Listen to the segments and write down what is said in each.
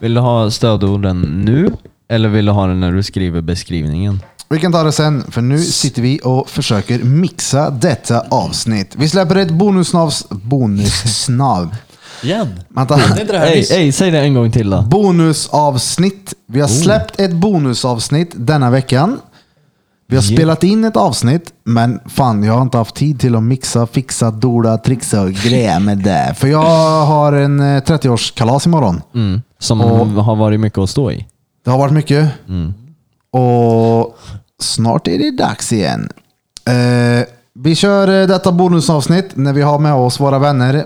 Vill du ha stödorden nu? Eller vill du ha den när du skriver beskrivningen? Vi kan ta det sen, för nu sitter vi och försöker mixa detta avsnitt. Vi släpper ett bonusnavs... Bonussnav. Igen? Vänta. Hade inte det här Ey, nyss? ey, säg det en gång till då. Bonusavsnitt. Vi har släppt ett bonusavsnitt denna veckan. Vi har spelat in ett avsnitt, men fan jag har inte haft tid till att mixa, fixa, dola, trixa och greja med det. För jag har en eh, 30-årskalas imorgon. Mm. Som Och- har varit mycket att stå i. Det har varit mycket. Och snart är det dags igen. Eh, vi kör eh, detta bonusavsnitt när vi har med oss våra vänner.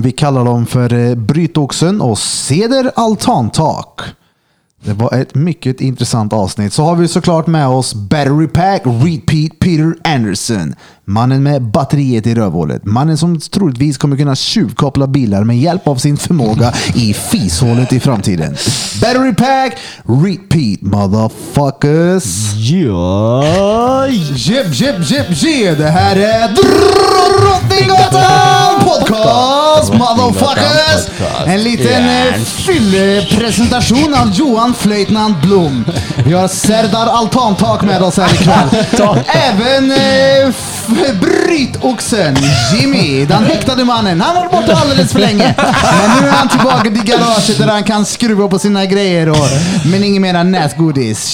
Vi kallar dem för eh, Brytoxen och Ceder Altantak. Det var ett mycket intressant avsnitt. Så har vi såklart med oss Battery Pack Repeat Peter Anderson. Mannen med batteriet i rövhålet. Mannen som troligtvis kommer kunna tjuvkoppla bilar med hjälp av sin förmåga i fishålet i framtiden. Battery Pack Repeat motherfuckers. Ja! Jib, jib, jib, jib. Det här är Drottninggatan Podcast motherfuckers. En liten eh, fyllepresentation av Johan Flöjtnant Blom. Vi har Serdar Altantak med oss här ikväll. Även eh, f- Brytoxen Jimmy, den häktade mannen. Han var borta alldeles för länge. Men nu är han tillbaka till garaget där han kan skruva på sina grejer. Och, men inget mer än näsgodis.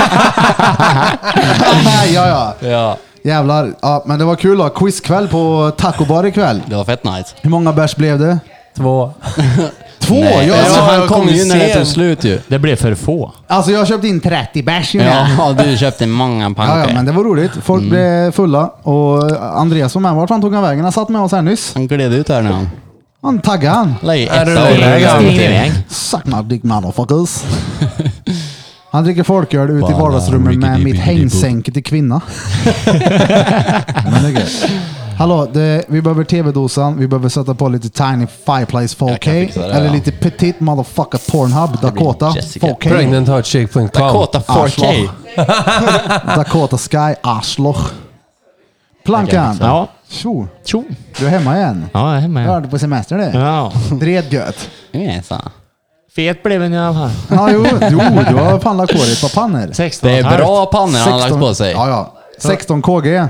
ja, ja. Ja. Jävlar. Ja, men det var kul då. Quizkväll på tacobar ikväll. Det var fett nice. Hur många bärs blev det? Två. Två! Nej, jag, alltså, han jag kom kom ju när det sen. tog slut ju. Det blev för få. alltså jag köpte in 30 bärs ju. Ja. Ja, Mm. du köpte många Ja, ja, men panker. det var roligt. Folk blev fulla och Andreas var med. Vart fan tog han vägen? Han satt med oss här nyss. Han gled ut här nu. han. Han taggade han. Lägg Är du etta och nöjd? rulla Ja. fram till. Iväg. Suck my dick motherfuckers. Han dricker folköl ute i Bara vardagsrummet Rickety med mitt Bickety hängsänke till kvinna. Men det är gött. Hallå, det, vi behöver tv-dosan, vi behöver sätta på lite Tiny Fireplace Jag kan 4K. fixa det, Eller ja. lite Petit Motherfucker Pornhub Dakota Jessica 4K. Pregnantheartshake.com. Kåta 4K. Dakota Sky, Arschloch. Plankan. Ja. Tjo, Tjo. du är hemma igen. Ja, jag är hemma. Jag har igen. varit på semester du. Ja. Dret gött. Jajamensan. Fet blev den i alla fall. Ja, jo, jo, du har fan lagt håret på pannor. 16 Det är bra pannor han har lagt på sig. Ja, ja. 16 kg.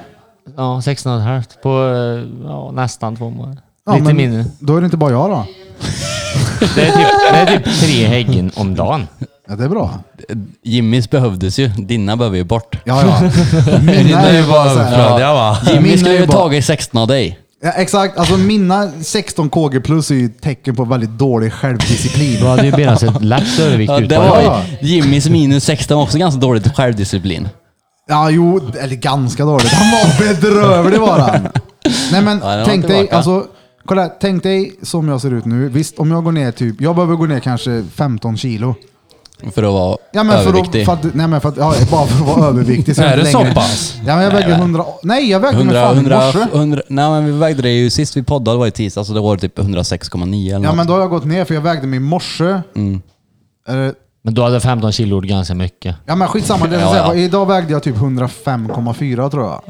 Ja, 16 och ett halvt på eh, ja, nästan två månader. Ja, Lite men mindre. Då är det inte bara jag då. Det är, typ, det är typ tre häggen om dagen. Ja, det är bra. Jimmys behövdes ju. Dina behöver ju bort. Ja, ja. Mina är ju bara så här. överflödiga va? Jimmy Min skulle är ju ju bara- tagit 16 av dig. Ja, exakt. Alltså mina 16 kg plus är ju ett tecken på väldigt dålig självdisciplin. Du hade ju benat ett lätt övervikt Ja, ut. det var Ja. ju Jimmys minus 16 var också ganska dåligt självdisciplin. Ja, jo, eller ganska dåligt. Han var bedrövlig var han. Nej men, den var tänk dig, tillbaka. alltså, kolla, här, tänk dig som jag ser ut nu. Visst, om jag går ner typ, jag behöver gå ner kanske 15 kilo. För att vara Ja, men för att, överviktig. för att, nej, men för att, ja, bara för att vara överviktig. så Är jag inte det så längre- pass? Ja, men jag väger nej. 100... Nej, jag vägde mig 100, fan i 100, morse. 100, nej men vi vägde det ju sist vi poddade var i tisdag så det var typ 106,9 eller Ja, något. Mm. men då har jag gått ner för jag vägde mig i morse. Eller- Men du hade 15 kilo gjort ganska mycket. Ja men skitsamma, det är Ja, så här, ja. idag vägde jag typ 105,4 tror jag.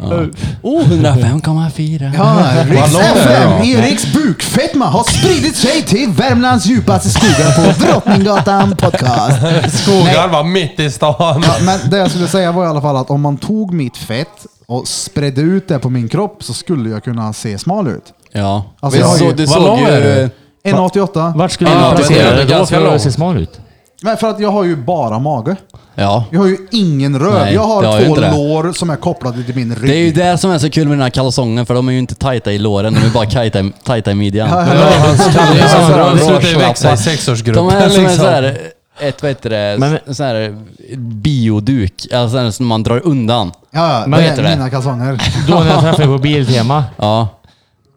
Oh, 105,4. Ja, Riks låg det FM, då? Eriks bukfetma har spridit sig till Värmlands djupaste skogar på Drottninggatan podcast. Skogar var mitt i stan. Ja, men det jag skulle säga var i alla fall att om man tog mitt fett och spredde ut det på min kropp så skulle jag kunna se smal ut. Ja. Alltså, Vi jag har såg- ju- du Vad såg lång ju... är du? 1,88. Vart skulle Ja, du men det placera är dig då ganska för att långt. se smal ut? Men för att jag har ju bara mage. Ja. Jag har ju ingen röv. Nej, jag har det har ju två inte det. lår som är kopplade till min rygg. Det är ju det som är så kul med den här kalsongen för de är ju inte tajta i låren, de är bara tajta, i- tajta i midjan. Ja, hans kalle Ja, som så drar- de slutar ju slår växa slappar. i sexårsgruppen De är som en liksom. sån här, ett vad heter det, Men- sån här bioduk, alltså en som man drar undan. Ja, ja, Men det heter är det? mina kalsonger. Då när jag träffade på Biltema, Ja.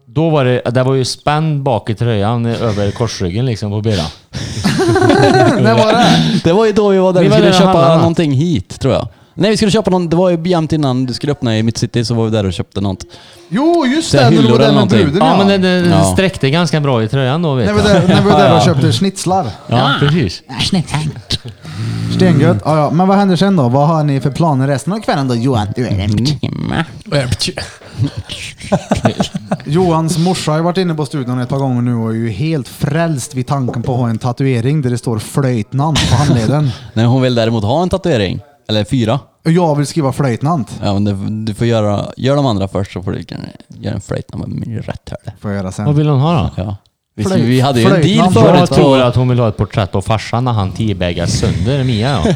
då var det, det var ju spänd bak i tröjan över korsryggen liksom på bilen. När var det? Det var ju då vi var där, Vi vi, var skulle där och köpa handlade. någonting hit tror jag. Nej vi skulle köpa någon, det var ju jämt innan du skulle öppna i Mitt City så var vi där och köpte något. Jo, just Så det. här När du var hyllor där med eller någonting. bruden Ja, men den, den Ja. sträckte ganska bra i tröjan då vet När vi jag. var där, när vi var där och köpte schnitzlar. Ja, precis. Stengött. Ja, Mm. ja. Men vad händer sen då? Vad har ni för planer resten av kvällen då Johan? Du är en- Timma. Johans morsa har ju varit inne på studion ett par gånger nu och är ju helt frälst vid tanken på att ha en tatuering där det står flöjtnant på handleden. Nej, hon vill däremot ha en tatuering. Eller fyra. Och jag vill skriva flöjtnant. Ja, men det, du får göra, gör de andra först så får du kan- göra en flöjt med min rätt här. Får jag göra Vad sen. vill hon ha då? Ja. Visst, Flöjt- vi hade ju en deal flöjtnamn. förut Jag tror på... att hon vill ha ett porträtt av farsan när han tibägar sönder Mia. då.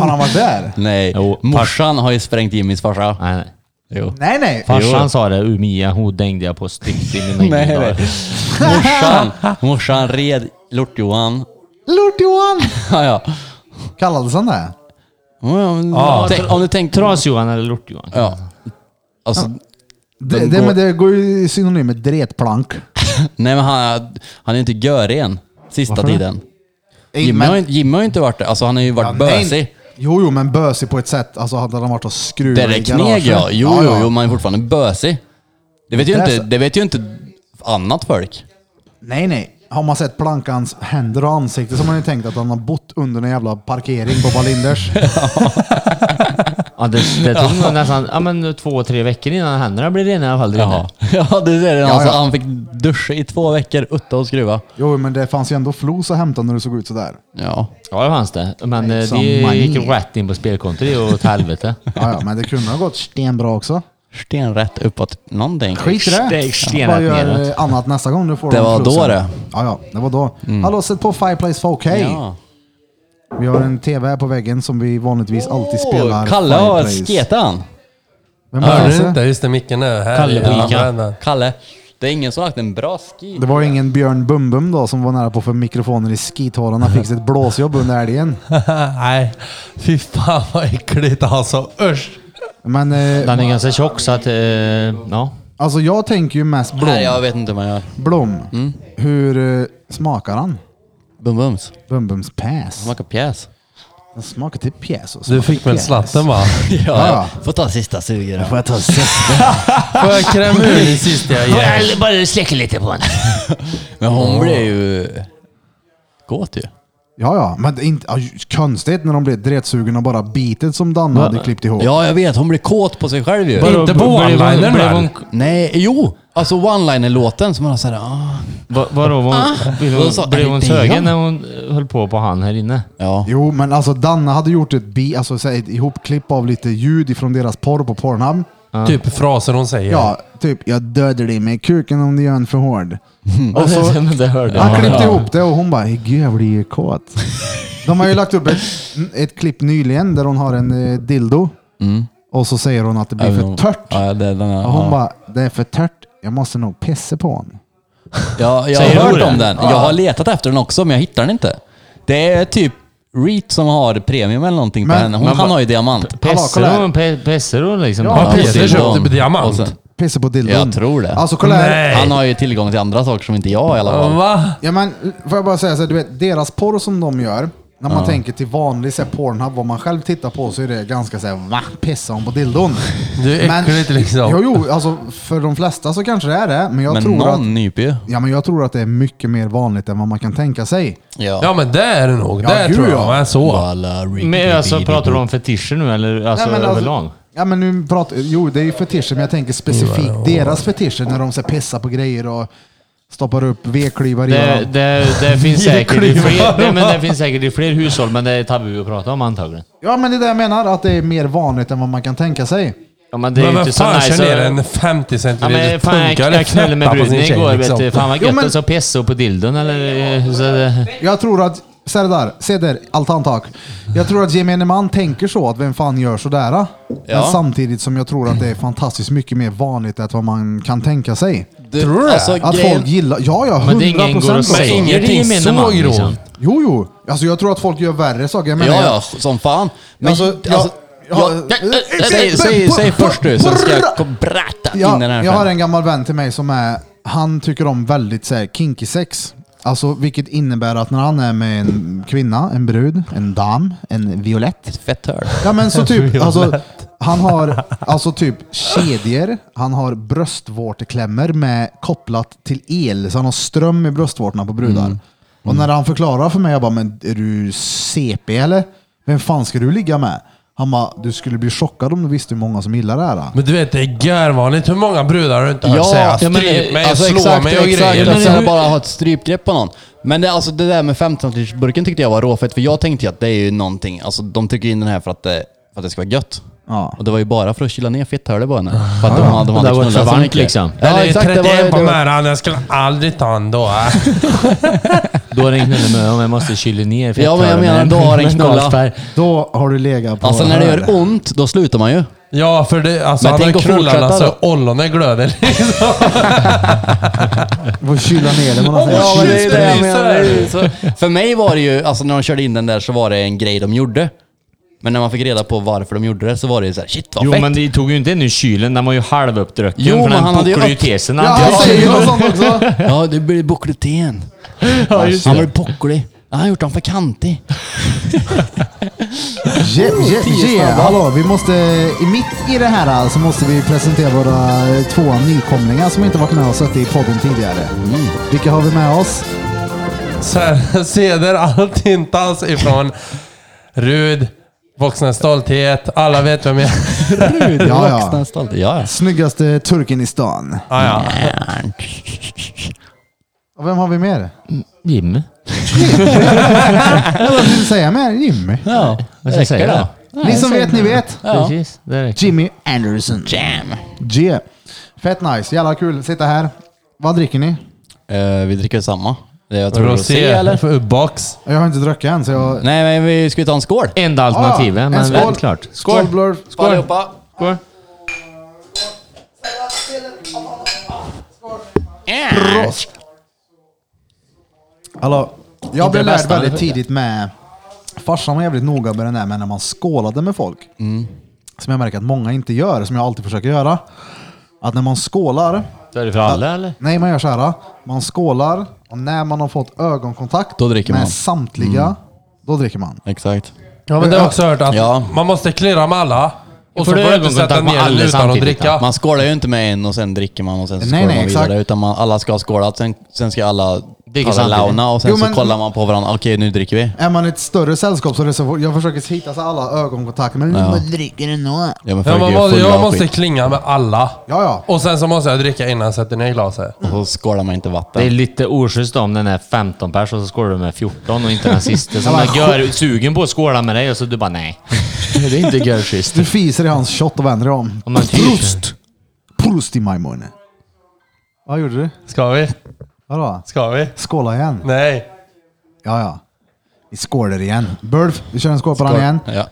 Har han varit där? Nej, Jo, morsan har ju sprängt Jimmys farsa. Nej, nej. Jo. Nej, nej. Farsan sa det, "Uh, Mia hon dängde jag på strikt i mina Nej, yngre dagar." nej. Morsan, morsan red Lort-Johan. Lort-Johan! Ja, ja. Kallades han det? Ja, men- Ja, tänk, om du tänker... Tras-Johan eller Lort-Johan? Ja. Alltså, Det, Den det, går- men det går ju i synonym med dretplank. nej men han, han är inte görren sista tiden. Jimmy, har, ju- Jimmy har ju inte varit det. Alltså han har ju varit Ja, nej. bösig. Jo, jo, men bösig på ett sätt. Alltså hade han varit och skruvat Det är kneg ja. Jo, jo, jo, man är fortfarande bösig. Det vet ju Det är inte, så. det vet ju inte annat folk. Nej, nej. Har man sett Plankans händer och ansikte så har man ju tänkt att han har bott under en jävla parkering på Wallinders. Ja, det, det tog nog nästan ja, men, två, tre veckor innan händerna blev rena i alla fall. där inne. Jaha. Ja, du ser det. Alltså, ja. Han fick duscha i två veckor, utta och skruva. jo, men det fanns ju ändå flos att hämta när du såg ut sådär. Ja. Ja, det fanns det. Men eh, Som det gick mané. rätt in på spelkontot och åt helvete. Ja, ja, men det kunde ha gått stenbra också. Stenrätt uppåt någonting. Skit i det. Steg stenrätt Bara gör neråt. eh, annat nästa gång du får Det den var då flusen. det. Mm. Ja, ja, det var då. Hallå, sätt på Fireplace 4K. Ja. Vi har en TV här på väggen som vi vanligtvis alltid spelar. Kalle har Fireplace. sketan. Vem var Hörde det? du inte? Just det, micken är här. Kalle på Ja, Ica. men, men. Kalle, det är ingen som har haft en bra ski. Det var ju ingen Björn Bumbum då som var nära på för mikrofonen i skithålan. Han fick sig ett blåsjobb under älgen. Nej, fy fan vad äckligt alltså. Usch! Men eh, Den är ganska tjock så att, eh, ja. alltså jag tänker ju mest Blom. Nej, jag Mm. vet inte hur man gör. Blom, hur eh, smakar han? Bum bums. Bumbums päs. Smaka pjäs. Den smakar till pjäs. och Du smakar fick väl pjäs. slatten va? Ja, Ja. Får ta sista sugen. Får jag ta sista? Får jag kräma ur det sista jag ger? Bara släcker lite på den. Men hon blev ju... Gåt ju. Ja, ja. Men det är inte, ja, konstigt när de blir dretsugna och bara bitet som Danne hade klippt ihop. Ja, jag vet. Hon blev kåt på sig själv ju. Inte på one-linern väl? Nej, jo! Alltså one-liner-låten som man har såhär... Ah. Vadå, var hon, blev Då sa- hon, blev hon det är jag. sögen när hon eh, höll på på han här inne? Ja. Jo, men alltså Danne hade gjort ett, bi, alltså, så här, ett ihopklipp av lite ljud ifrån deras porr på Pornhub. Typ fraser hon säger. Ja, typ jag dödar dig med kuken om du gör en för hård. Och så, det hörde jag. han klippte ihop det och hon bara, gud jag blir ju kåt. De har ju lagt upp ett, ett klipp nyligen där hon har en eh, dildo. Och så säger hon att det blir för tört. Mm. Ja, det, den är, Och hon ja. bara, det är för tört. Jag måste nog pissa på honom. Ja, jag har Säger du hört det? om den. Jag har letat efter den också, men jag hittar den inte. Det är typ REIT som har premium eller någonting Men- på henne. Hon, men han vad- har ju diamant. Hallå, kolla här. Pesser hon, pe- pesser hon liksom? Ja, Har Ja, Peter precis. köpt typ Och diamant? sen- Pissa på dildon. Jag tror det. Alltså kolla här. Nej. Han har ju tillgång till andra saker som inte jag i alla fall. Va? Ja men, får jag bara säga så här, du vet, deras porr som de gör, när man tänker till vanlig så här, Pornhub, vad man själv tittar på, så är det ganska såhär, va? Pissar hon på dildon? Det är äckligt liksom. Jo, jo, alltså för de flesta så kanske det är det, men jag men tror någon att... nyper ju. Ja, men jag tror att det är mycket mer vanligt än vad man kan tänka sig. Ja. Ja men det är det nog. Ja, det gud, tror jag. ja. Men så. Alla Men alltså pratar du om fetischer nu eller alltså, Nej, men alltså- överlag? Ja, men nu pratar... Jo, det är ju fetischer, men jag tänker specifikt deras fetischer när de så här, pissar på grejer och stoppar upp vedklyvar i Det, varandra. det, det, finns Vi är säkert i klyvar. fler, det, men det finns säkert i fler hushåll, men det är tabu att prata om antagligen. Ja, men det är det jag menar, att det är mer vanligt än vad man kan tänka sig. Ja, men det är Men ju vem inte så fan nice. kör ner att- en 50 Ja, men centiliters fan, punka jag, eller jag knullade med flätta på bruden sin igår. tjej Vet du, liksom? fan vad Jo, gött. men- Och så pessade hon på dildon eller... eh, Så det, Jag tror att, se det där, se där, altantak. Jag tror att gemene man tänker så, att vem fan gör sådär? Men Ja. samtidigt som jag tror att det är fantastiskt mycket mer vanligt än vad man kan tänka sig. Tror du det? Alltså, Att grejen- folk gillar, ja ja, men det är ingen 100 går och procent. säger ingenting det är gemene så man, grovt. liksom. Jo jo, alltså jag tror att folk gör värre saker. Jag menar, Ja, ja, som fan. Men Alltså, alltså, jag- jag- jag- jag- jag- jag- säg- jag- säg- jag- Säg först du, så ska jag brrra. kom- berätta jag, in den här jag har sen. en gammal vän till mig som är, han tycker om väldigt så här, kinky sex. Alltså vilket innebär att när han är med en kvinna, en brud, en dam, en violett. Ett fett hörn. Ja men så typ, alltså, han har alltså typ kedjor, han har bröstvårteklämmor med kopplat till el, så han har ström i bröstvårtorna på brudar. Och när han förklarar för mig, jag bara, men är du CP eller? Vem fan ska du ligga med? Han bara, du skulle bli chockad om du visste hur många som gillar det här. Men du vet, det är görvanligt hur många brudar du inte hört säga ja, men, stryp mig, alltså, slå exakt, mig och exakt, grejer. Att liksom. såhär Alltså, bara ha ett strypgrepp på någon. Men det, alltså, det där med 15-burken tyckte jag var råfett, för jag tänkte ju att det är ju någonting, alltså de trycker in den här för att det, för att det ska vara gött. Ja. Och det var ju bara för att kyla ner fitthålet på henne. För att de hade, de Det hade var knullat så så varmt, mycket. liksom. Ja, Ja, det är exakt. Det 31 var, på det var, märan, jag skulle aldrig ta en då. Då ringde den med om jag måste kyla ner. för Ja, men jag tar menar, den då här- har den med knullat. Carlsberg. Då har du legat på... alltså när det gör hör. ont, då slutar man ju. Ja, för det, alltså, Men han har tänk att knullarna fortsätta så ollonet glöder. liksom. Får kyla ner det. Man har Ja, sagt. men det är det jag menar. Så För mig var det ju, alltså när de körde in den där så var det en grej de gjorde. Men när man fick reda på varför de gjorde det så var det ju såhär, shit vad Jo, fett. men det tog ju inte in i kylen. Den var ju halvuppdrucken. Jo, för men den han hade ju puckade upp- till sig när Ja, han han drar. säger ju något sånt också. Ja, det blir bokleten. han var bocklig. Ja, han har gjort dem för kantig. Yeah, yeah, yeah. Hallå, vi måste, i mitt i det här så måste vi presentera våra eh, två nykomlingar som inte varit med och suttit i podden tidigare. Vilka har vi med oss? Så här, seder allt hintas ifrån Rud, Vuxna Stolthet, alla vet vem jag är. Ja, ja. Vuxna stolt. Ja, ja. Snyggaste turken i stan. Ah, ja. Och vem har vi mer? Jimmy. Jag vill säga mer, Jimmy. ja. Vad ska jag säga då? Ni som vet, ni vet. Ja. Precis. Det räcker. Jimmy Anderson. Jam. G. Fett nice, jävla kul att sitta här. Vad dricker ni? Eh, vi dricker samma. Det är, Jag tror Rosé, eller? för box. Jag har inte druckit än så jag... Ah, Nej, men vi ska ju ta en skål. Enda alternativet, men det är klart. Skål! Blur. Skål allihopa. Skål. Yes. Hallå. Jag blev det lärd bästa, väldigt men- tidigt med... Farsan var jävligt noga med den där med när man skålade med folk. Som jag märker att många inte gör, som jag alltid försöker göra. Att när man skålar... Är det för alla eller? Nej, man gör så här. Man skålar och när man har fått ögonkontakt Då dricker med man. samtliga, då dricker man. Exakt. Ja, men det har jag också hört att Ja. man måste klirra med alla. Och så För det får är du inte sätta ögonkontakt med ner den alla utan att samtidigt, dricka. Man skålar ju inte med en och sen dricker man och sen så Nej, skålar nej, man vidare. exakt. Utan man, alla ska ha skålat, sen, sen ska alla Dricker ta en samtidigt. launa och sen Jo, så men- kollar man på varandra. Okej, nu dricker vi. Är man ett större sällskap så är det så, jag försöker hitta så alla ögonkontakter, men Ja. man dricker ändå. Ja, men Ja, folk är man ju måste, fulla jag av måste skit. klinga med alla. Ja, ja. Och sen så måste jag dricka innan jag sätter ner glaset. Och så skålar man inte vatten. Det är lite oschysst om den är 15 pers och så skålar du med 14 och inte den sista som Ja, är gör, sugen på att skåla med dig och så du bara nej. Det är inte görschysst. Du fiser i hans shot och vänder dig om. Om man typ- Prost! Prost i my mun. Vad gjorde du? Ska vi? Vadå? Ska vi? Skåla igen? Nej. Ja, ja. Vi skålar igen. Bulf, vi kör en skål på den igen. Ja.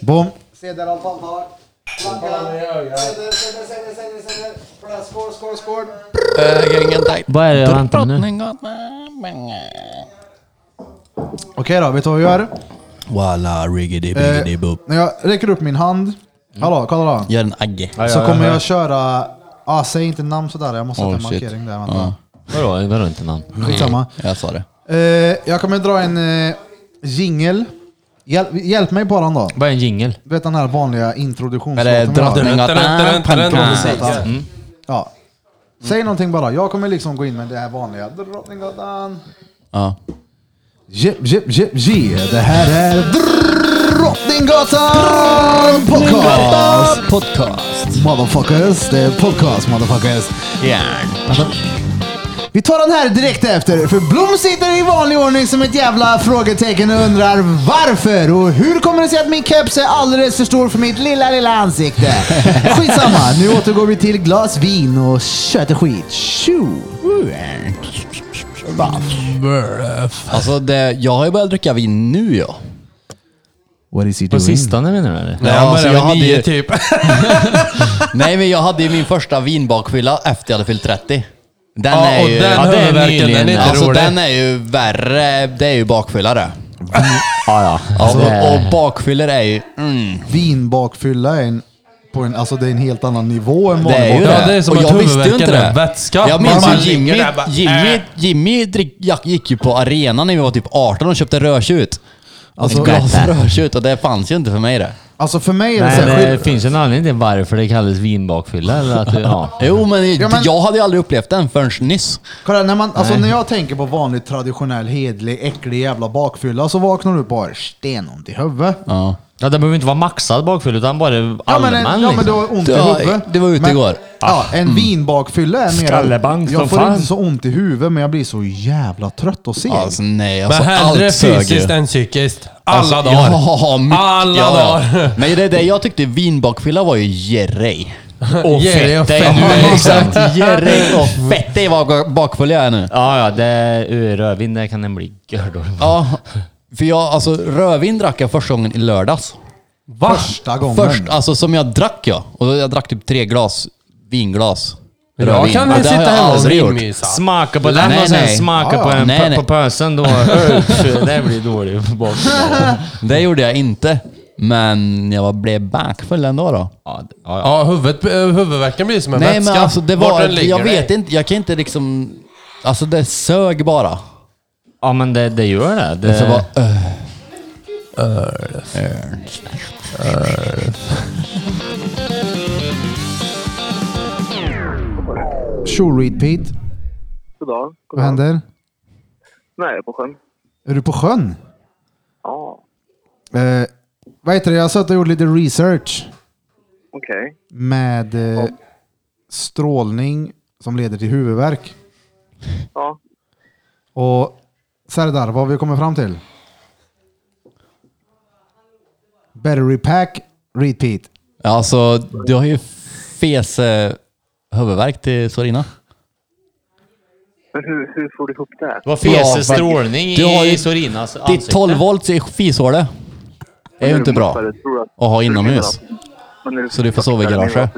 Bom! Se Skål, skål, skål! Vad är det? Vänta nu. Drottninggatan. Okej då, vet du vad vi gör? Walla riggedy biggedy Eh, boop. när jag räcker upp min hand, Mm. hallå, kolla då. Gör en agge. Så kommer jag köra, ah, säg inte namn sådär, jag måste sätta en Oh, shit. markering där. Ja, Vänta. Vadå? Vadå inte namn? Skitsamma. jag sa det. Eh, jag kommer dra en eh, jingel. Hjälp, hjälp mig på den då. Vad är en jingel? Du vet den här vanliga Är introduktionslåten. det vi har? Drottninggatan? Pankan. Ja. Säg någonting bara. Jag kommer liksom gå in med det här vanliga. Drottninggatan. Ja. Jep, jep, jep, je. Det här är Drottninggatan Podcast! Podcast. Motherfuckers. Det är podcast motherfuckers. Alltså, Järn. Vi tar den här direkt efter, för Blom sitter i vanlig ordning som ett jävla frågetecken och undrar varför och hur kommer det sig att min keps är alldeles för stor för mitt lilla, lilla ansikte? Skitsamma, nu återgår vi till glas vin och kött och skit. Tjo! Alltså det, jag har ju börjat dricka vin nu ja. What is he På sistone menar du eller? Nej, Ja, jag alltså, börjar jag med hade ju- nio typ. Nej men jag hade ju min första vinbakfylla efter jag hade fyllt 30. Den Ja, är och ju... den ja, det är huvudvärken, nyligen. den är inte alltså rolig. den är ju värre. Det är ju bakfylla det. Ja, ja. Alltså, Det är- och, och bakfyllor är ju... Mm, Vinbakfylla är en, på en, alltså det är en helt annan nivå än det vanlig är ju bakfylla. Ja, det är som och att jag visste ju huvudvärken inte är det. vätska. Jag minns Man ju Jimmy, ligger där bara, Jimmy, äh. Jimmy drick, jag gick ju på arenan när vi var typ 18 och köpte rödtjut. Alltså, Ett glas rödtjut och det fanns ju inte för mig det. Alltså för mig är det så Nej, här, det skill- finns en anledning till varför det kallas vinbakfylla. Eller att, ja. Jo men, Ja, men- jag hade ju aldrig upplevt den förrän nyss. Kolla, när, man, alltså när jag tänker på vanlig, traditionell, hedlig, äcklig jävla bakfylla så vaknar du bara stenont i huvudet. Ja. Ja, den behöver inte vara maxad bakfylla utan bara allmän. liksom. Ja men, en, ja, men du har ont i liksom. Det var- huvudet. det var ute men, igår. Ah, mm. Ja, en vinbakfylla är mer... Skallebank som Jag får fan. inte så ont i huvudet men jag blir så jävla trött och seg. Alltså nej, Men alltså, hellre allt sög ju. fysiskt än psykiskt. Alla Alltså, dagar. Ja, mycket, Alla ja, ja. dagar. Men det, det jag tyckte vinbakfylla var ju Jerry. Och Jerry och Det är nu exakt. Jerry och fettig vad bakfull jag är nu. Ja, ja, det är ur rödvin, där kan den bli gördålig. Ja, för jag, alltså rödvin drack jag första gången i lördags. Va? Första gången. Först, alltså som jag drack ja. Och jag drack typ tre glas vinglas. Jag kan Ja, ju det har sitta jag hemma och aldrig gjort. vinmysa. Smaka på den Nej, och sen nej. smaka Ja, på, ja. en, Nej, på, nej. på pösen då. Usch, det blir dålig bakfylla. Det gjorde jag inte. Men jag var, blev bakfull ändå då. Ja, det- ja, ja. Ja, huvudet, huvudvärken blir som en Nej vätska. men alltså det var... Vart den ligger Jag vet dig. inte, jag kan inte liksom... Alltså det sög bara. ja, men det, det gör det. Det det var... öh. Sure read Pete. God dag. God Vad dag. händer? Nej, jag är på sjön. Är du på sjön? Ja, Eh, vad heter det? Jag satt och gjorde lite research okej. med eh, strålning som leder till huvudvärk. Ja, Och Serdar, vad har vi kommit fram till? Battery pack, repeat. Alltså du har ju fes eh, huvudvärk till Sorina. men hur, hur får du ihop det här? var Ja, feses faktiskt. strålning Du har ju- i Sorinas Ditt ansikte. 12 volts i fishålet är ju inte bra När du muffar, tror du att- att ha inomhus. Men när Så du får sova i garaget.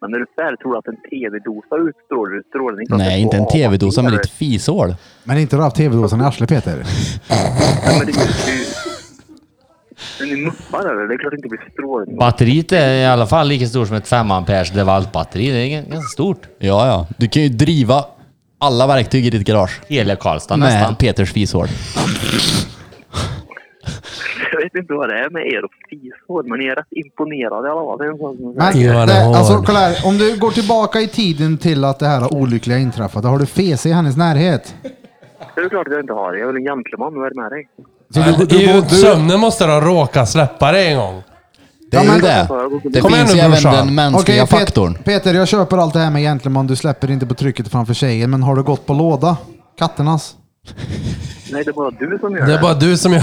Men när du fär tror du att en tv-dosa utstrålar utstrålning? Nej, inte en tv-dosa med ditt fishål. Men inte du haft tv-dosan i arslet Peter? Nej, men det är ju... Men ni muffar eller? Det är klart det inte blir strålning. Batteriet är i alla fall lika stort som ett 5 amperes DeWalt-batteri. Det är g- ganska stort. Ja, ja. Du kan ju driva alla verktyg i ditt garage. Hela Karlstad nästan. Med Peters fishål. Jag vet inte vad det är med er och fishår, men ni är rätt imponerade i alla fall. Det är en sån som- Men, Johan det, Hård. alltså kolla här, om du går tillbaka i tiden till att det här olyckliga inträffade, har du fes i hennes närhet? Det är ju klart att jag inte har. Jag är väl en gentleman. Vad är det med dig? Så du, du, I du, du, sömnen måste du ha råkat släppa det en gång. Det är Ja, ju men- det. Det Kom igen finns nu, ju även brorsan. den mänskliga Okej, Pet- faktorn. Peter, jag köper allt det här med gentleman, du släpper inte på trycket framför tjejen, men har du gått på låda? Katternas? Nej, det är bara du som gör Det det. är bara du som gör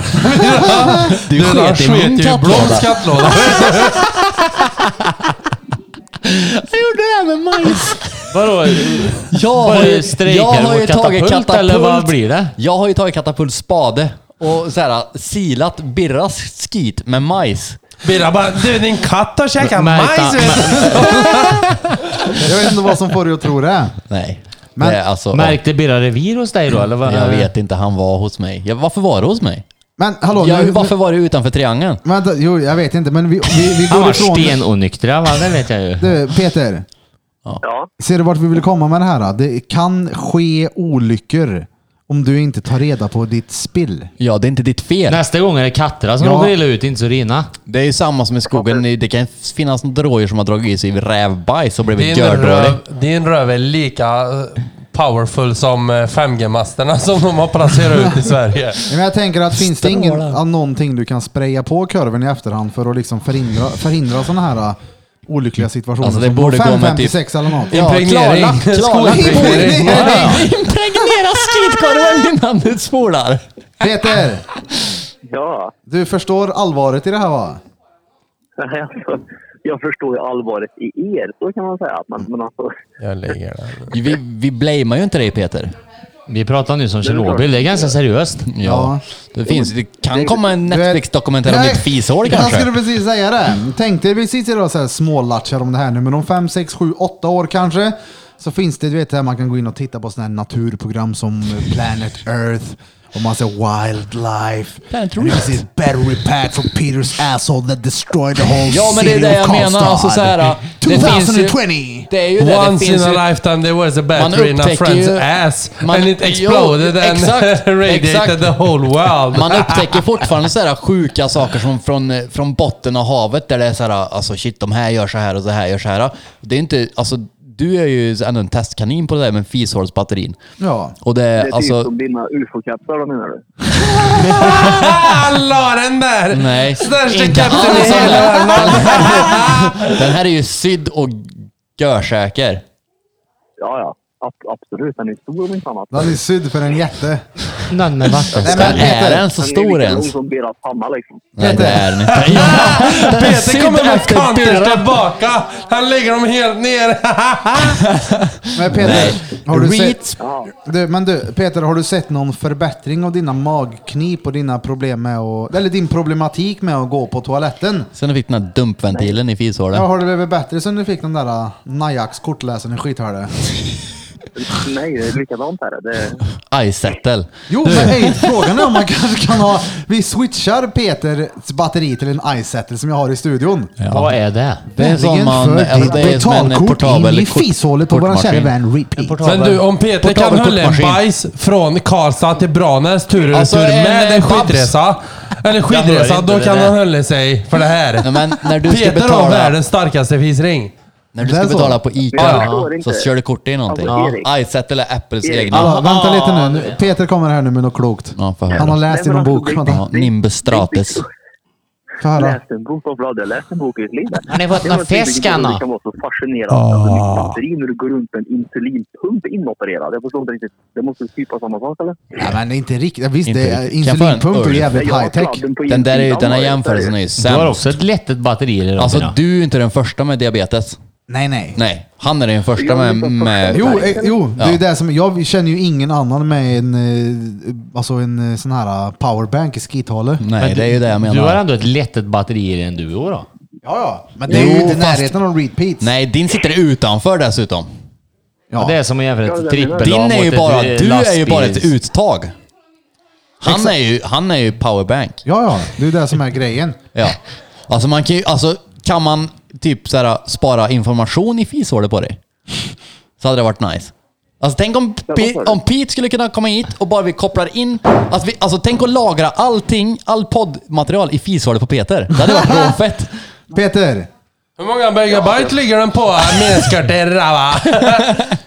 Du, Du Lars sket i min sket ju i Bloms kattlåda. kattlåda. Jag gjorde det här med majs. Vadå? Jag Var har ju, det strejker jag har ju mot tagit katapult, katapult. eller vad blir det? Jag har ju tagit katapult spade och så här, silat Birras skit med majs. Birra bara, du din katt har käkat Märta- majs vet du." Jag vet inte vad som får dig att tro det. Nej. Men- det är alltså, Märkte Birra revir hos dig då, eller? Vad? Mm. Jag vet inte, han var hos mig. Jag, varför var du hos mig? Men hallå, jag, nu, varför var du utanför triangeln? nu, vänta, jo, jag vet inte, men vi, vi, vi Han går var ifrån... stenonyktra, va? Det vet jag ju. Du, Peter, Ja. ser du vart vi vill komma med det här? då? Det kan ske olyckor om du inte tar reda på ditt spill. Ja, det är inte ditt fel. Nästa gång är det katterna som Ja. råkar illa ut, inte Sorina. Det är ju samma som i skogen. Det kan finnas något rådjur som har dragit i sig rävbajs och blivit Din gördålig. röv, din röv är lika eh, powerful som eh, 5G-masterna som de har placerat ut i Sverige. Ja, Men jag tänker att finns det ingen, Strålar. ja, någonting du kan spraya på kurven i efterhand för att liksom förhindra, förhindra sådana här uh, olyckliga situationer? Alltså, det som borde gå med 556 eller något. Ja, Impregnering. klarlagt, klarlagt. Skolimpregnering. Ja, ja. Impregnera skitkorven innan du spolar! Peter, Ja. du förstår allvaret i det här va? Nej, Alltså, jag förstår ju allvaret i er, så kan man säga. Men, men alltså, Jag ligger där. Vi, vi blamear ju inte dig Peter. Vi pratar nu som är klart. Tjernobyl, det är ganska seriöst. Ja. Det, finns, det kan komma Du en vet- Netflix-dokumentär om Nej, ditt fishål Jag kanske. skulle precis säga det. Tänkte precis idag så här smålatchar om det här nu, men om 5, 6, 7, 8 år kanske så finns det, du vet, här man kan gå in och titta på sådana här naturprogram som Planet Earth och man ser Wildlife. Planet And Earth. This is battery pack for Peters asshole that destroyed the whole Ja, men det är city det of jag menar. Karlstad. Alltså, så här, det finns ju- 2020! Det är ju det. det Once finns in ju, a lifetime there was a battery in a upptäcker friend's ju- ass man- and it exploded Jo, and exakt, radiated exakt. the whole world. Man upptäcker fortfarande så här sjuka saker som från, eh, från botten av havet där det är så här, alltså shit, de här gör så här och så här gör så här. Det är inte, alltså du är ju ändå en testkanin på det där med fishålsbatterin. Ja. Och det det är är typ alltså... som dina ufo-kapslar, vad menar du? Alla har en händer? Nej. Största Inte kapten i alls. hela Värmland. Den här är ju sydd och görsäker. Ja, ja. Ab- absolut. Den är stor alltså. om inte annat. Den är sydd för en jätte. Den med vatten. Nej, men- Är den så Den är stor lika lång ens? som deras panna liksom. Nej, det är den inte. Ja, den är Peter sydd kommer med efter kanter Birra. tillbaka. Han lägger dem helt ner. Men Peter, Nej. har du Reet. sett, du, men du, Peter, har du sett någon förbättring av dina magknip och dina problem med att, eller din problematik med att gå på toaletten? Sen fick den här dumpventilen i Ja, fishålen. har det blivit bättre sen du fick den där uh, Najax kortläsaren i skithörde? Nej, det är likadant här. Det är... Izettle. Jo, men hej, frågan är om man kanske kan ha... Vi switchar Peters batteri till en iSettle som jag har i studion. Vad är det? Det är som Nämligen man... för Alltså ditt det är som en betalkort in portabel i kort- fishålet på våran kära kortmaskin. vän Repeat. Men du, om Peter Portabel kan hålla en kortmaskin. bajs från Karlstad till Branäs tur och Alltså, retur en- med en en babs. skidresa. Jag Eller hör skidresa, inte då det kan där. han hålla sig för det här. Nej, men när du ska Peter har betala- världens starkaste fisring. När du ska Det är så. betala på ICA Jag förstår så inte. kör du kort i någonting. Alltså, Erik. Izettle är Apples Erik. egna. Alltså, vänta lite nu. nu. Peter kommer här nu med något klokt. Ja, får höra. Han har läst i Nej, men någon alltså, bok. det- Vänta, Ja, Nimbus Stratus. Få Jag höra. läste en bok, vad bra. Jag läste en bok i ett liv. Har ni fått Det är någon någonting fisk, vilket Anna? Det kan vara så fascinerande. Ah. Alltså ditt batteri när du går runt med en insulinpump inopererad. Jag förstår inte riktigt. Det måste typ vara samma sak eller? Nej, men det är inte riktigt. Visst, Inte det är riktigt. Kan jag få en insulinpump är öl? jävligt Jag har high tech. sladden på Den, där är, ju- insidan, den här vad är det? jämförelsen är ju Du har sämst. också ett lättet batteri i dig, Alltså Robin. du är ju inte den första med diabetes. Nej, nej. Nej, han är den första Jag är med... inte den med första. Jo, eh, jo det är Ja. ju det som, jag känner ju ingen annan med en, eh, alltså en eh, sån här eh, powerbank i skithålet. Nej, Men det är ju det jag menar. Du har ändå ett lättet batteri i dig än du, då. Ja, ja. Men det är ju Jo, inte i fast- närheten av repeats. Nej, din sitter utanför dessutom. Ja. Det är som att jämföra Ja, ett det- trippel Din är ju bara... Du är ju bara ett ut. uttag. Han är ju, han är ju powerbank. Ja, ja. Det är det som är grejen. Ja. Alltså man kan ju, alltså kan man typ så här, spara information i fishålet på dig? Så hade det varit nice. Alltså tänk om, Pe- om Pete skulle kunna komma hit och bara vi kopplar in, alltså, vi, alltså tänk att lagra allting, all poddmaterial i fishålet på Peter. Det hade varit råfett. Peter! Hur många megabyte ligger den på? Minskar det va?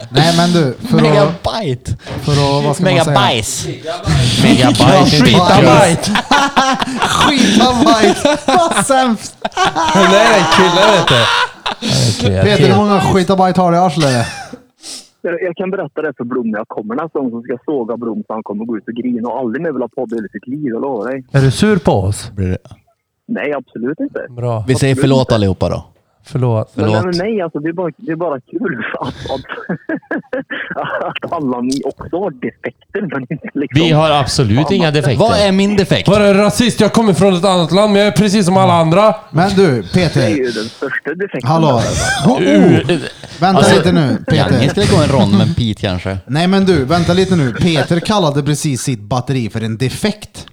Nej men du, för att... Megabyte. För att vad ska man säga? Megabajs. Ja, Megabyte. skita byte. Skitavajs! Vad sämst! Nej, det är en kille vet du. Peter, hur många skitabajt har du i arslet? Jag, jag kan berätta det för Blom när jag kommer nästa gång som ska såga Blom så han kommer gå ut och grina och aldrig mer vilja podda hela sitt liv, jag lovar dig. Är du sur på oss? Nej, absolut inte. Bra. Vi säger förlåt allihopa då. Förlåt. Men, nej, Förlåt. men nej, alltså det är bara, det är bara kul att, att, att alla ni också har defekter. Men inte liksom, Vi har absolut inga defekter. Vad är min defekt? Var det rasist? Jag kommer från ett annat land, men jag är precis som alla andra. Men du, Det är Peter. ju den största defekten. Hallå. Oh, Alltså, oh. Vänta lite nu, Janne Peter. skulle gå en rond med Pete kanske. Nej men du, vänta lite nu. Peter kallade precis sitt batteri för en defekt.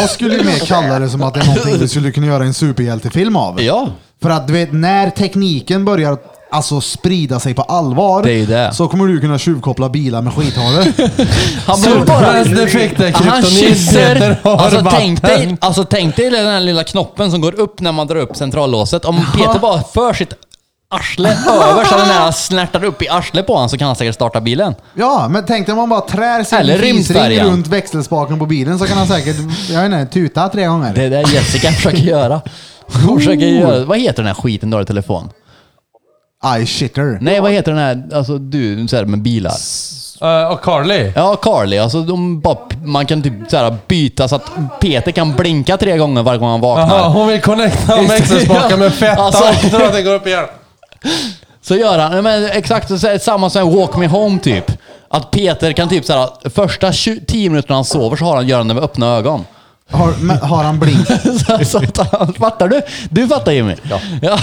Jag skulle ju mer kalla det som att det är någonting vi skulle kunna göra en superhjältefilm av. Ja. För att du vet, när tekniken börjar alltså sprida sig på allvar Det är ju det. så kommer du kunna tjuvkoppla bilar med skithare. Han behöver bara Superplast defekter, Han kryptonit, kysser! heter har Alltså vatten. tänk, dig, alltså tänk dig den här lilla knoppen som går upp när man drar upp centrallåset. Om Peter bara för sitt arsle över så den här snärtar upp i arslet på honom så kan han säkert starta bilen. Ja, men tänk dig om man bara trär Eller sin fisring rymdfärjan. runt växelspaken på bilen så kan han säkert, jag vet inte, tuta tre gånger. Det är det Jessica försöker göra. Hon försöker göra... Vad heter den här skiten du har i telefon? I shitter. Nej, vad heter den här... Alltså du, så här med bilar. Eh, och Carly. Ja, Carly. Alltså de bara, man kan typ så här byta så att Peter kan blinka tre gånger varje gång han vaknar. Jaha, hon vill connecta med växelspaken med fetta Alltså- och dra att det går upp igen. Så gör han, nej, men exakt så här, samma som en Walk Me Home typ. Att Peter kan typ såhär, första 20, 10 minuterna han sover så har han Göran med öppna ögon. Har, men, har han blink? så, så att han, fattar du? Du fattar Jimmy? Ja.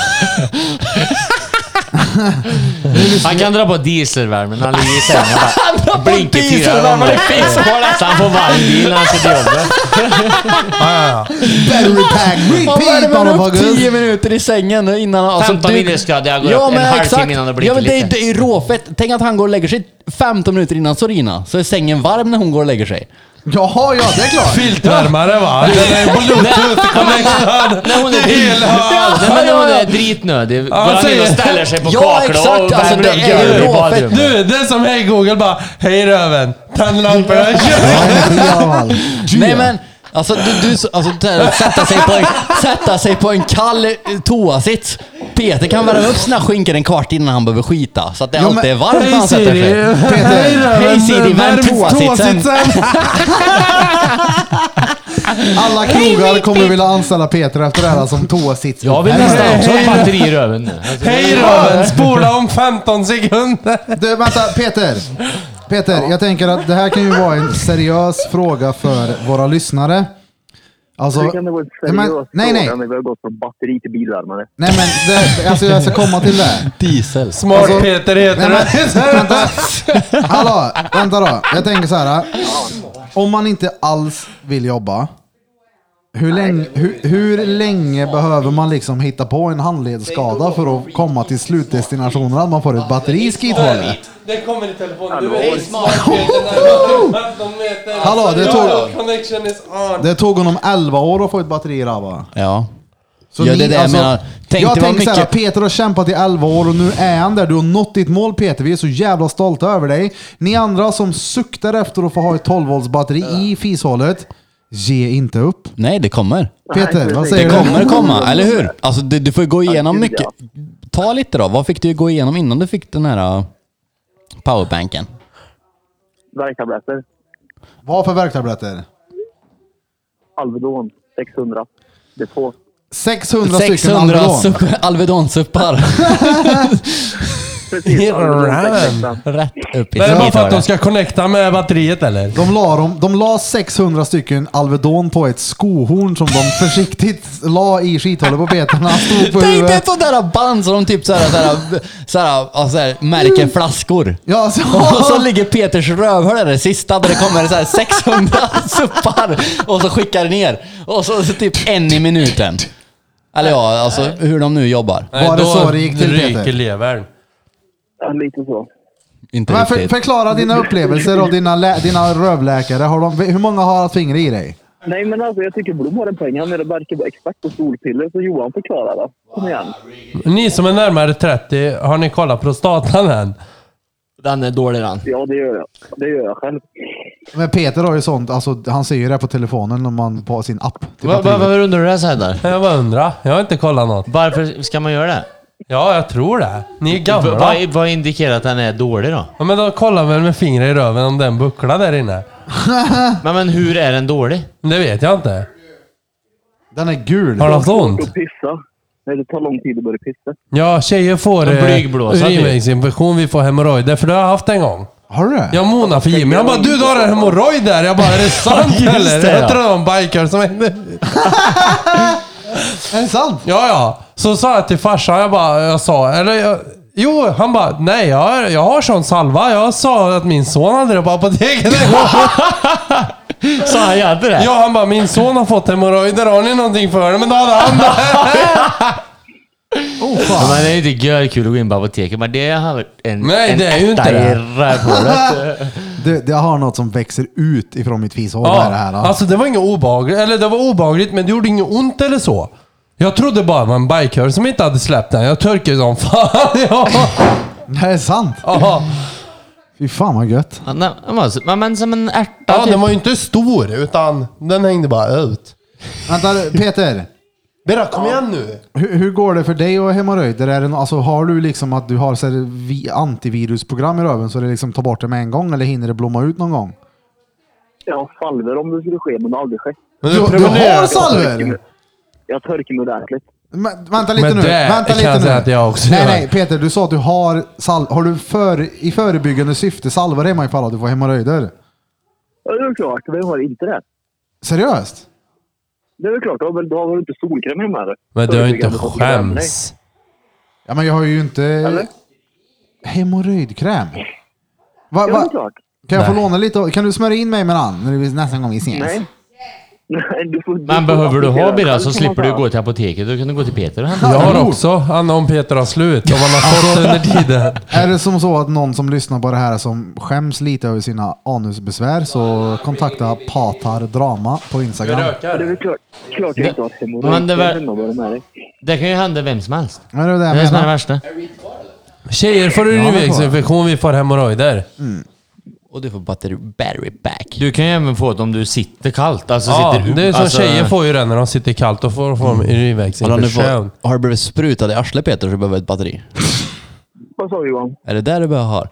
Han kan dra på dieselvärmen när han ligger i sängen. Han drar på dieselvärmen i Så han får varm bil när han ska till jobbet. Battery pack, Han repeat värmer upp 10 motherfuckers! minuter i sängen innan... alltså, 15 du- minuters grad, jag går upp en men halvtimme exakt. innan det ja, blinkar men det, är- lite. det är råfett. Tänk att han går och lägger sig 15 minuter innan Sorina, så är sängen varm när hon går och lägger sig. Jaha, ja det är klart. Filtvärmare va? Den är bluetooth connectad. När hon är, drit, Nej, men när hon är dritnödig går han in och ställer sig på Ja, exakt, kaklet och alltså, det värmer upp är ju Göran i råfett. badrummet. Du, det är som Hej Google bara. Hej röven. Tänd lamporna. kör." Ja, det är i alla fall. Nej men, Alltså, du, du, så- alltså det här, sätta, sig på en, sätta sig på en kall eh, toasits. Peter kan värma upp sina skinkor en kvart innan han behöver skita. Så att det Ja, alltid men- är varmt när Hej han sätter Siri! sig. Hej då, Hej vem- Siri, värm värm toasitsen. Alla krogar kommer vilja anställa Peter efter det här som toasits. Jag vill nästan också ha ett batteri i röven nu. Alltså, Hej Robin! Spola om 15 sekunder! Du, vänta Peter! Peter, jag tänker att det här kan ju vara en seriös fråga för våra lyssnare. Alltså, Hur kan det vara en Ja, seriös men- nej, nej. fråga när vi har gått från batteri till bilvärmare? nej men det, alltså jag ska komma till det. Diesel. Smart Alltså, Peter Nej, heter men, det. vänta. Hallå, vänta då. Jag tänker så här. Om man inte alls vill jobba, hur länge, hur, hur länge behöver man liksom hitta på en handledsskada för att komma till slutdestinationen? Att man får ett batteri i skidhålet? Det kommer i telefonen. Du Hallå. är smart Peter. 15 meter. Hallå, det Alltså, tog- your Connection is on. Det tog honom 11 år att få ett batteri i Rabba. Ja. Så ja, ni- det är det jag alltså, menar. Tänk jag dig vad tänker mycket... såhär, Peter har kämpat i 11 år och nu är han där. Du har nått ditt mål Peter. Vi är så jävla stolta över dig. Ni andra som suktar efter att få ha ett 12 volts batteri i fishålet, ge inte upp. Nej, det kommer. Peter, vad Det säger du? kommer komma, eller hur? Alltså du, du får ju gå igenom gud, mycket. Ta lite då. Vad fick du gå igenom innan du fick den här uh, powerbanken? Värktabletter. Vad för värktabletter? Alvedon 600. Depå. 600, stycken 600 Alvedon. supp- Alvedon-suppar. Precis. Hit Alvedon around. 600. Rätt upp i Det är bara för att skithålet. de ska connecta med batteriet eller? De la, dem- de la 600 stycken Alvedon på ett skohorn som de försiktigt la i skithålet på Peter när han stod på Tänk dig huvudet. ett sånt där band som de typ såhär, såhär, såhär, ja, såhär märker flaskor. Mm. Ja, så, Och så ligger Peters rövhål där, det sista, där det kommer såhär 600 suppar och så skickar det ner. Och så, så typ en i minuten. Eller ja, alltså hur de nu jobbar. Nej, Var det då så det gick till, ryker Peter? levern. Ja, lite så. Inte Men för, riktigt. förklara dina upplevelser och dina, lä, dina rövläkare. Har de, hur många har haft fingrar i dig? Nej, men alltså jag tycker Blom har en poäng. Han är verkar vara expert på solpiller, så Johan förklarar det. Kom igen. Ni som är närmare 30, har ni kollat prostatan än? Den är dålig den. Ja, det gör jag. Det gör jag själv. Men Peter har ju sånt, alltså, han ser ju det på telefonen när man på sin app. till Va- va- batteriet. Varför undrar du det såhär där? Jag bara undrar. Jag har inte kollat något. Varför ska man göra det? Ja, jag tror det. Ni är V- gamla. Vad, vad indikerar att den är dålig då? Ja, men då kollar väl med fingret i röven om den bucklar där inne. Men, men hur är den dålig? Men det vet jag inte. Den är gul. Har du haft ont? Och pissa. Nej, det tar lång tid att börja pissa. Ja, tjejer får En eh, blygblåsa, typ. urinvägsinfektion. Vi får hemorrojder. För det har jag haft en gång. Har du det? Jag monar för Jimmy. Han bara du, du har en hemorrojd där. Jag bara är det sant Just eller? det, ja. jag tror det var en biker som hände. Är det sant? Ja, ja. Så sa jag till farsan. Jag bara, jag sa, eller jag, Jo, han bara, nej jag har, jag har sån salva. Jag sa att min son hade det på apoteket en gång. Sa han jag hade det? Ja, han bara, min son har fått hemorrojder. Har ni någonting för det? Men då hade han det. Oh, Ja, fan. men det är ju inte görkul att gå in på apoteket, men det har varit en Nej, en det är ju inte etta i det. rövhålet. Du, jag har något som växer ut ifrån mitt fishål. Ja, det här. då. Alltså det var inget obehagligt, eller det var obehagligt men det gjorde inget ont eller så. Jag trodde bara det var en bikehör som inte hade släppt den. Jag törkade som fan. Ja. det här är sant. Ja. Fy fan vad gött. Ja, nej, men alltså, Men, men som en ärta ja, typ. den var ju inte stor utan den hängde bara ut. Vänta Peter. Berra, kom igen nu! Hur, hur går det för dig och hemorrojder? Är det nå- Alltså, har du liksom att du har så här, vi, antivirusprogram i röven så det liksom tar bort det med en gång eller hinner det blomma ut någon gång? Jag har salver om det skulle ske, men det har aldrig skett. Men Du, du har salver? Jag törker mig ordentligt. Men, vänta lite Men nu. det vänta kan lite jag nu. säga att jag också nej, gör. nej, Peter. Du sa att du har sal- Har du för, i förebyggande syfte salvar hemma ifall att du får hemorrojder? Ja, det är väl klart. Vem har inte det? Seriöst? Det är väl klart. Då har väl- då har väl inte solkräm hemma eller? Men du har ju inte Förebyggande mot kräm, nej. skäms. Ja, men jag har ju inte... Eller? Hemorrojdkräm? Va, Ja, det är va? klart. Kan jag få låna lite? av- Kan du smörja in mig med den när vi- nästa gång vi ses? Nej. Nej, du får, Alltså, Men behöver du ha bilar så Själv kan slipper man du ta. gå till apoteket. Du kan du gå till Peter och hämta. Jag Jo. har också, Anna om Peter har slut, om han har fått under tiden. Är det som så att någon som lyssnar på det här som skäms lite över sina anusbesvär så kontakta Patar Drama på Instagram. Det är väl klart, klart jag inte har Men det hemorrojder var- hemma vad det är med dig. Det kan ju hända vem som helst. Men det är det Det är det jag som är det menar. värsta. Tjejer får urinvägsinfektion, vi får hemorrojder. Och du får batteri battery back. Du kan ju även få det om du sitter kallt. Alltså Ja, sitter det är som alltså, tjejer får ju den när de sitter kallt. Då får får de urinvägs Har du, infektion. fått- har du blivit sprutad i arslet Peter så behöver du ett batteri. Vad sa du Johan? Är det där du behöver ha?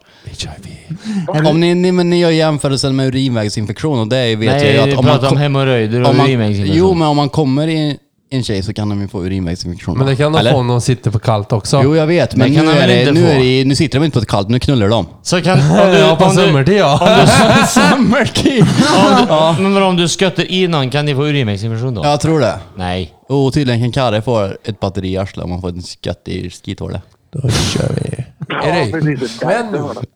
Om ni, ni, men ni gör jämförelsen med urinvägsinfektion och det är- vet Nej, jag vi ju att om man, pratar om kom- hemorrojder och om man, urinvägsinfektion. Jo, men om man kommer i en tjej så kan de ju få urinvägsinfektion. Men det kan de Eller? få om de sitter för kallt också. Jo, jag vet, men Det nu, kan de är väl det, inte nu, få? är det, nu sitter de inte på ett kallt, nu knullar de. Så kan... Om du, ja, på om du, sommartid ja. Sommartid! ja. Men vadå, om du skötter i någon, kan ni få urinvägsinfektion då? Jag tror det. Nej. Och tydligen kan Karre få ett batteri i arslet om man får en skatt i skithålet. Då kör vi. Ja, precis. Det där, men- det var det.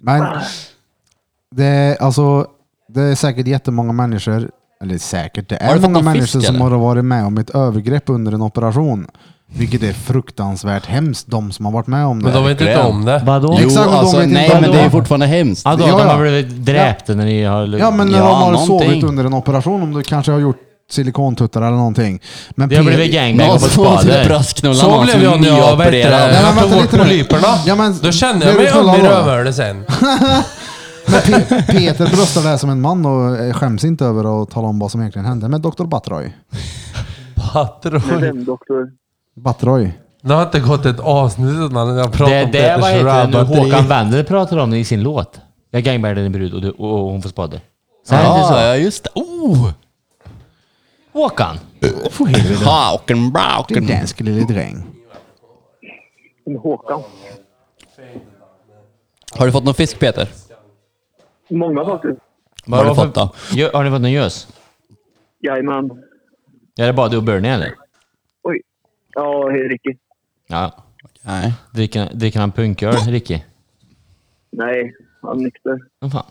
Men det är, alltså, det är säkert jättemånga människor, eller säkert, det Har är du fått många någon människor fisk, som har eller? varit med om ett övergrepp under en operation. Vilket är fruktansvärt hemskt, de som har varit med om det. Men de vet inte om det. Vadå? Jo, Exakt, och de alltså, vet inte nej om men det det är var. fortfarande hemskt. Ja, då, Ja, de ja. har blivit dräpta när ni har... Ja, men när Ja, de har någonting. sovit under en operation, om du kanske har gjort silikontuttar eller någonting. Men Det har P- blivit gangbang Någon och fått som har typ spader. braskknullat Så någon blev som jag när jag vet, nyopererad. Nej, men jag tog vänta bort lite nu. polyperna. Ja, men- Då kände blev jag mig du knullad öm i då? rövhålet sen. Pe- Peter bröstar det här som en man och eh, skäms inte över att tala om vad som egentligen hände med Dr. Batroy. Men Patron. vem, doktor? Batroy. Det har inte gått ett avsnitt utan jag pratat Det om det är vad Peters heter det nu rabatteri. Håkan Wendel pratar om det i sin låt. Jag gangbangade din brud och, du, och och hon får spader. Så här är det Ja, så. ja, just det. Oh! Håkan! Hauken, Det är brauken. dansk lille dräng. En Håkan. Har du fått någon fisk Peter? Många faktiskt. Vad har du Varför- fått då? Gö- Har ni fått någon gös? Jajamän. Är det bara du och Bernie eller? Oj. Ja, hej Ricky. Ja. Nej. Dricker, dricker han punköl, Ricky? Nej, han är nykter. Vad fan?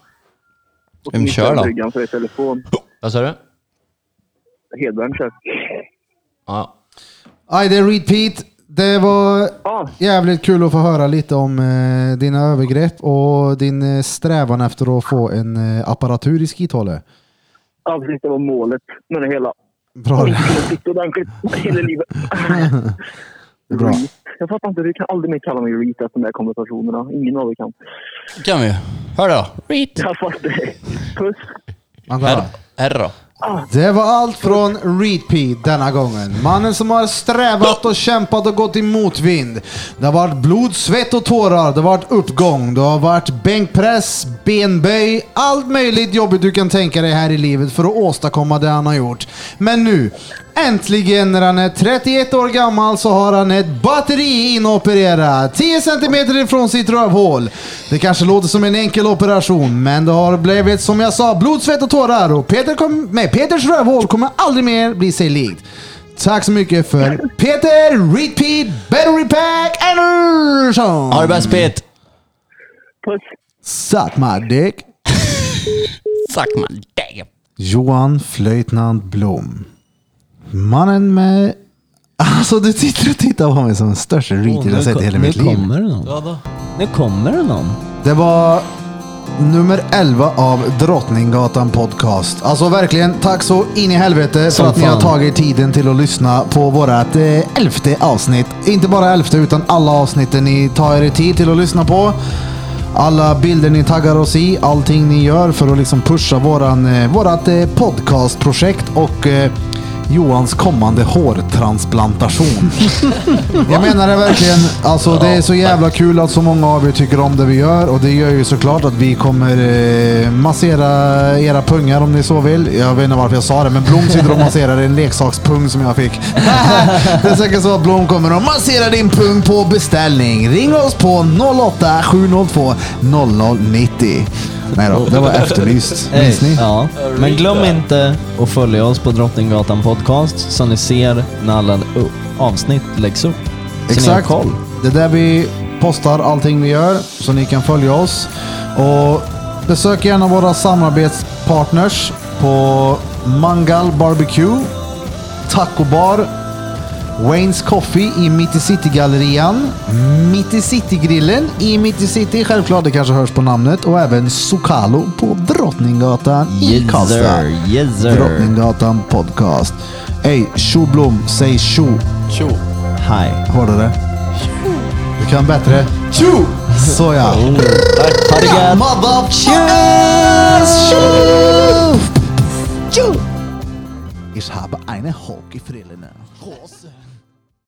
Och Vem kör då? Bryggan för i telefon. Vad sa du? Hedberg kör. Ja. Aj, det är Reed Pete. Det var Ja, jävligt kul att få höra lite om eh, dina övergrepp och din eh, strävan efter att få en eh, apparatur i skithålet. ja, precis. Det var målet med det hela. Bra. Jag skulle sitta ordentligt hela livet. Bra. Reet. Jag fattar inte, du kan aldrig mer kalla mig Reet efter de här konversationerna. Ingen av er kan. kan vi ju. Hör då. Reet. Jag fattar. Puss. Vänta. Här, här då. Det var allt från Repeat denna gången. Mannen som har strävat och kämpat och gått i motvind. Det har varit blod, svett och tårar. Det har varit uppgång. Det har varit bänkpress, benböj, allt möjligt jobbigt du kan tänka dig här i livet för att åstadkomma det han har gjort. Men nu, äntligen när han är 31 år gammal så har han ett batteri inopererat 10 centimeter ifrån sitt rövhål. Det kanske låter som en enkel operation, men det har blivit som jag sa, blod, svett och tårar och Peter kom, med Peters rövhål kommer aldrig mer bli sig likt. Tack så mycket för Peter Repeat Battery Pack Andersson! Ha det bäst Pet. Puss. Suck my dick. Suck my dick. Johan Flöjtnant Blom. Mannen med... Alltså du sitter och tittar på mig som den största reader jag sett i hela mitt nu liv. kommer det någon. Nu kommer det någon. Det var nummer 11 av Drottninggatan Podcast. Alltså verkligen, tack så in i helvete Som för att ni har fan. tagit tiden till att lyssna på vårat eh, elfte avsnitt. Inte bara elfte, utan alla avsnitten ni tar er tid till att lyssna på. Alla bilder ni taggar oss i, allting ni gör för att liksom pusha våran, eh, vårat eh, podcastprojekt och eh, Johans kommande hårtransplantation. Jag menar det verkligen. Alltså det är så jävla kul att så många av er tycker om det vi gör och det gör ju såklart att vi kommer eh, massera era pungar om ni så vill. Jag vet inte varför jag sa det, men Blom sitter och masserar en leksakspung som jag fick. det är säkert så att Blom kommer och masserar din pung på beställning. Ring oss på 08 702 0090. Nej då, det var efterlyst. Minns ni? Ja. Men glöm inte att följa oss på Drottninggatan Podcast så ni ser när alla u- avsnitt läggs upp. Så ni har Exakt. koll. Det är där vi postar allting vi gör, så ni kan följa oss. Och besök gärna våra samarbetspartners på Mangal Barbecue, Taco Bar, Waynes Coffee i Mitt i City-gallerian, Mitt i City-grillen i Mitt i City, självklart, det kanske hörs på namnet, och även Sokalo på Drottninggatan i Yes Karlstad. sir, yes sir. Drottninggatan Podcast. Ey, tjo Blom, säg tjo. Tjo. Hi. Hörde det? Du kan bättre. Tjo! Så ja. Ha det gött! Ich habe eine Hawk i Frillene. Rose.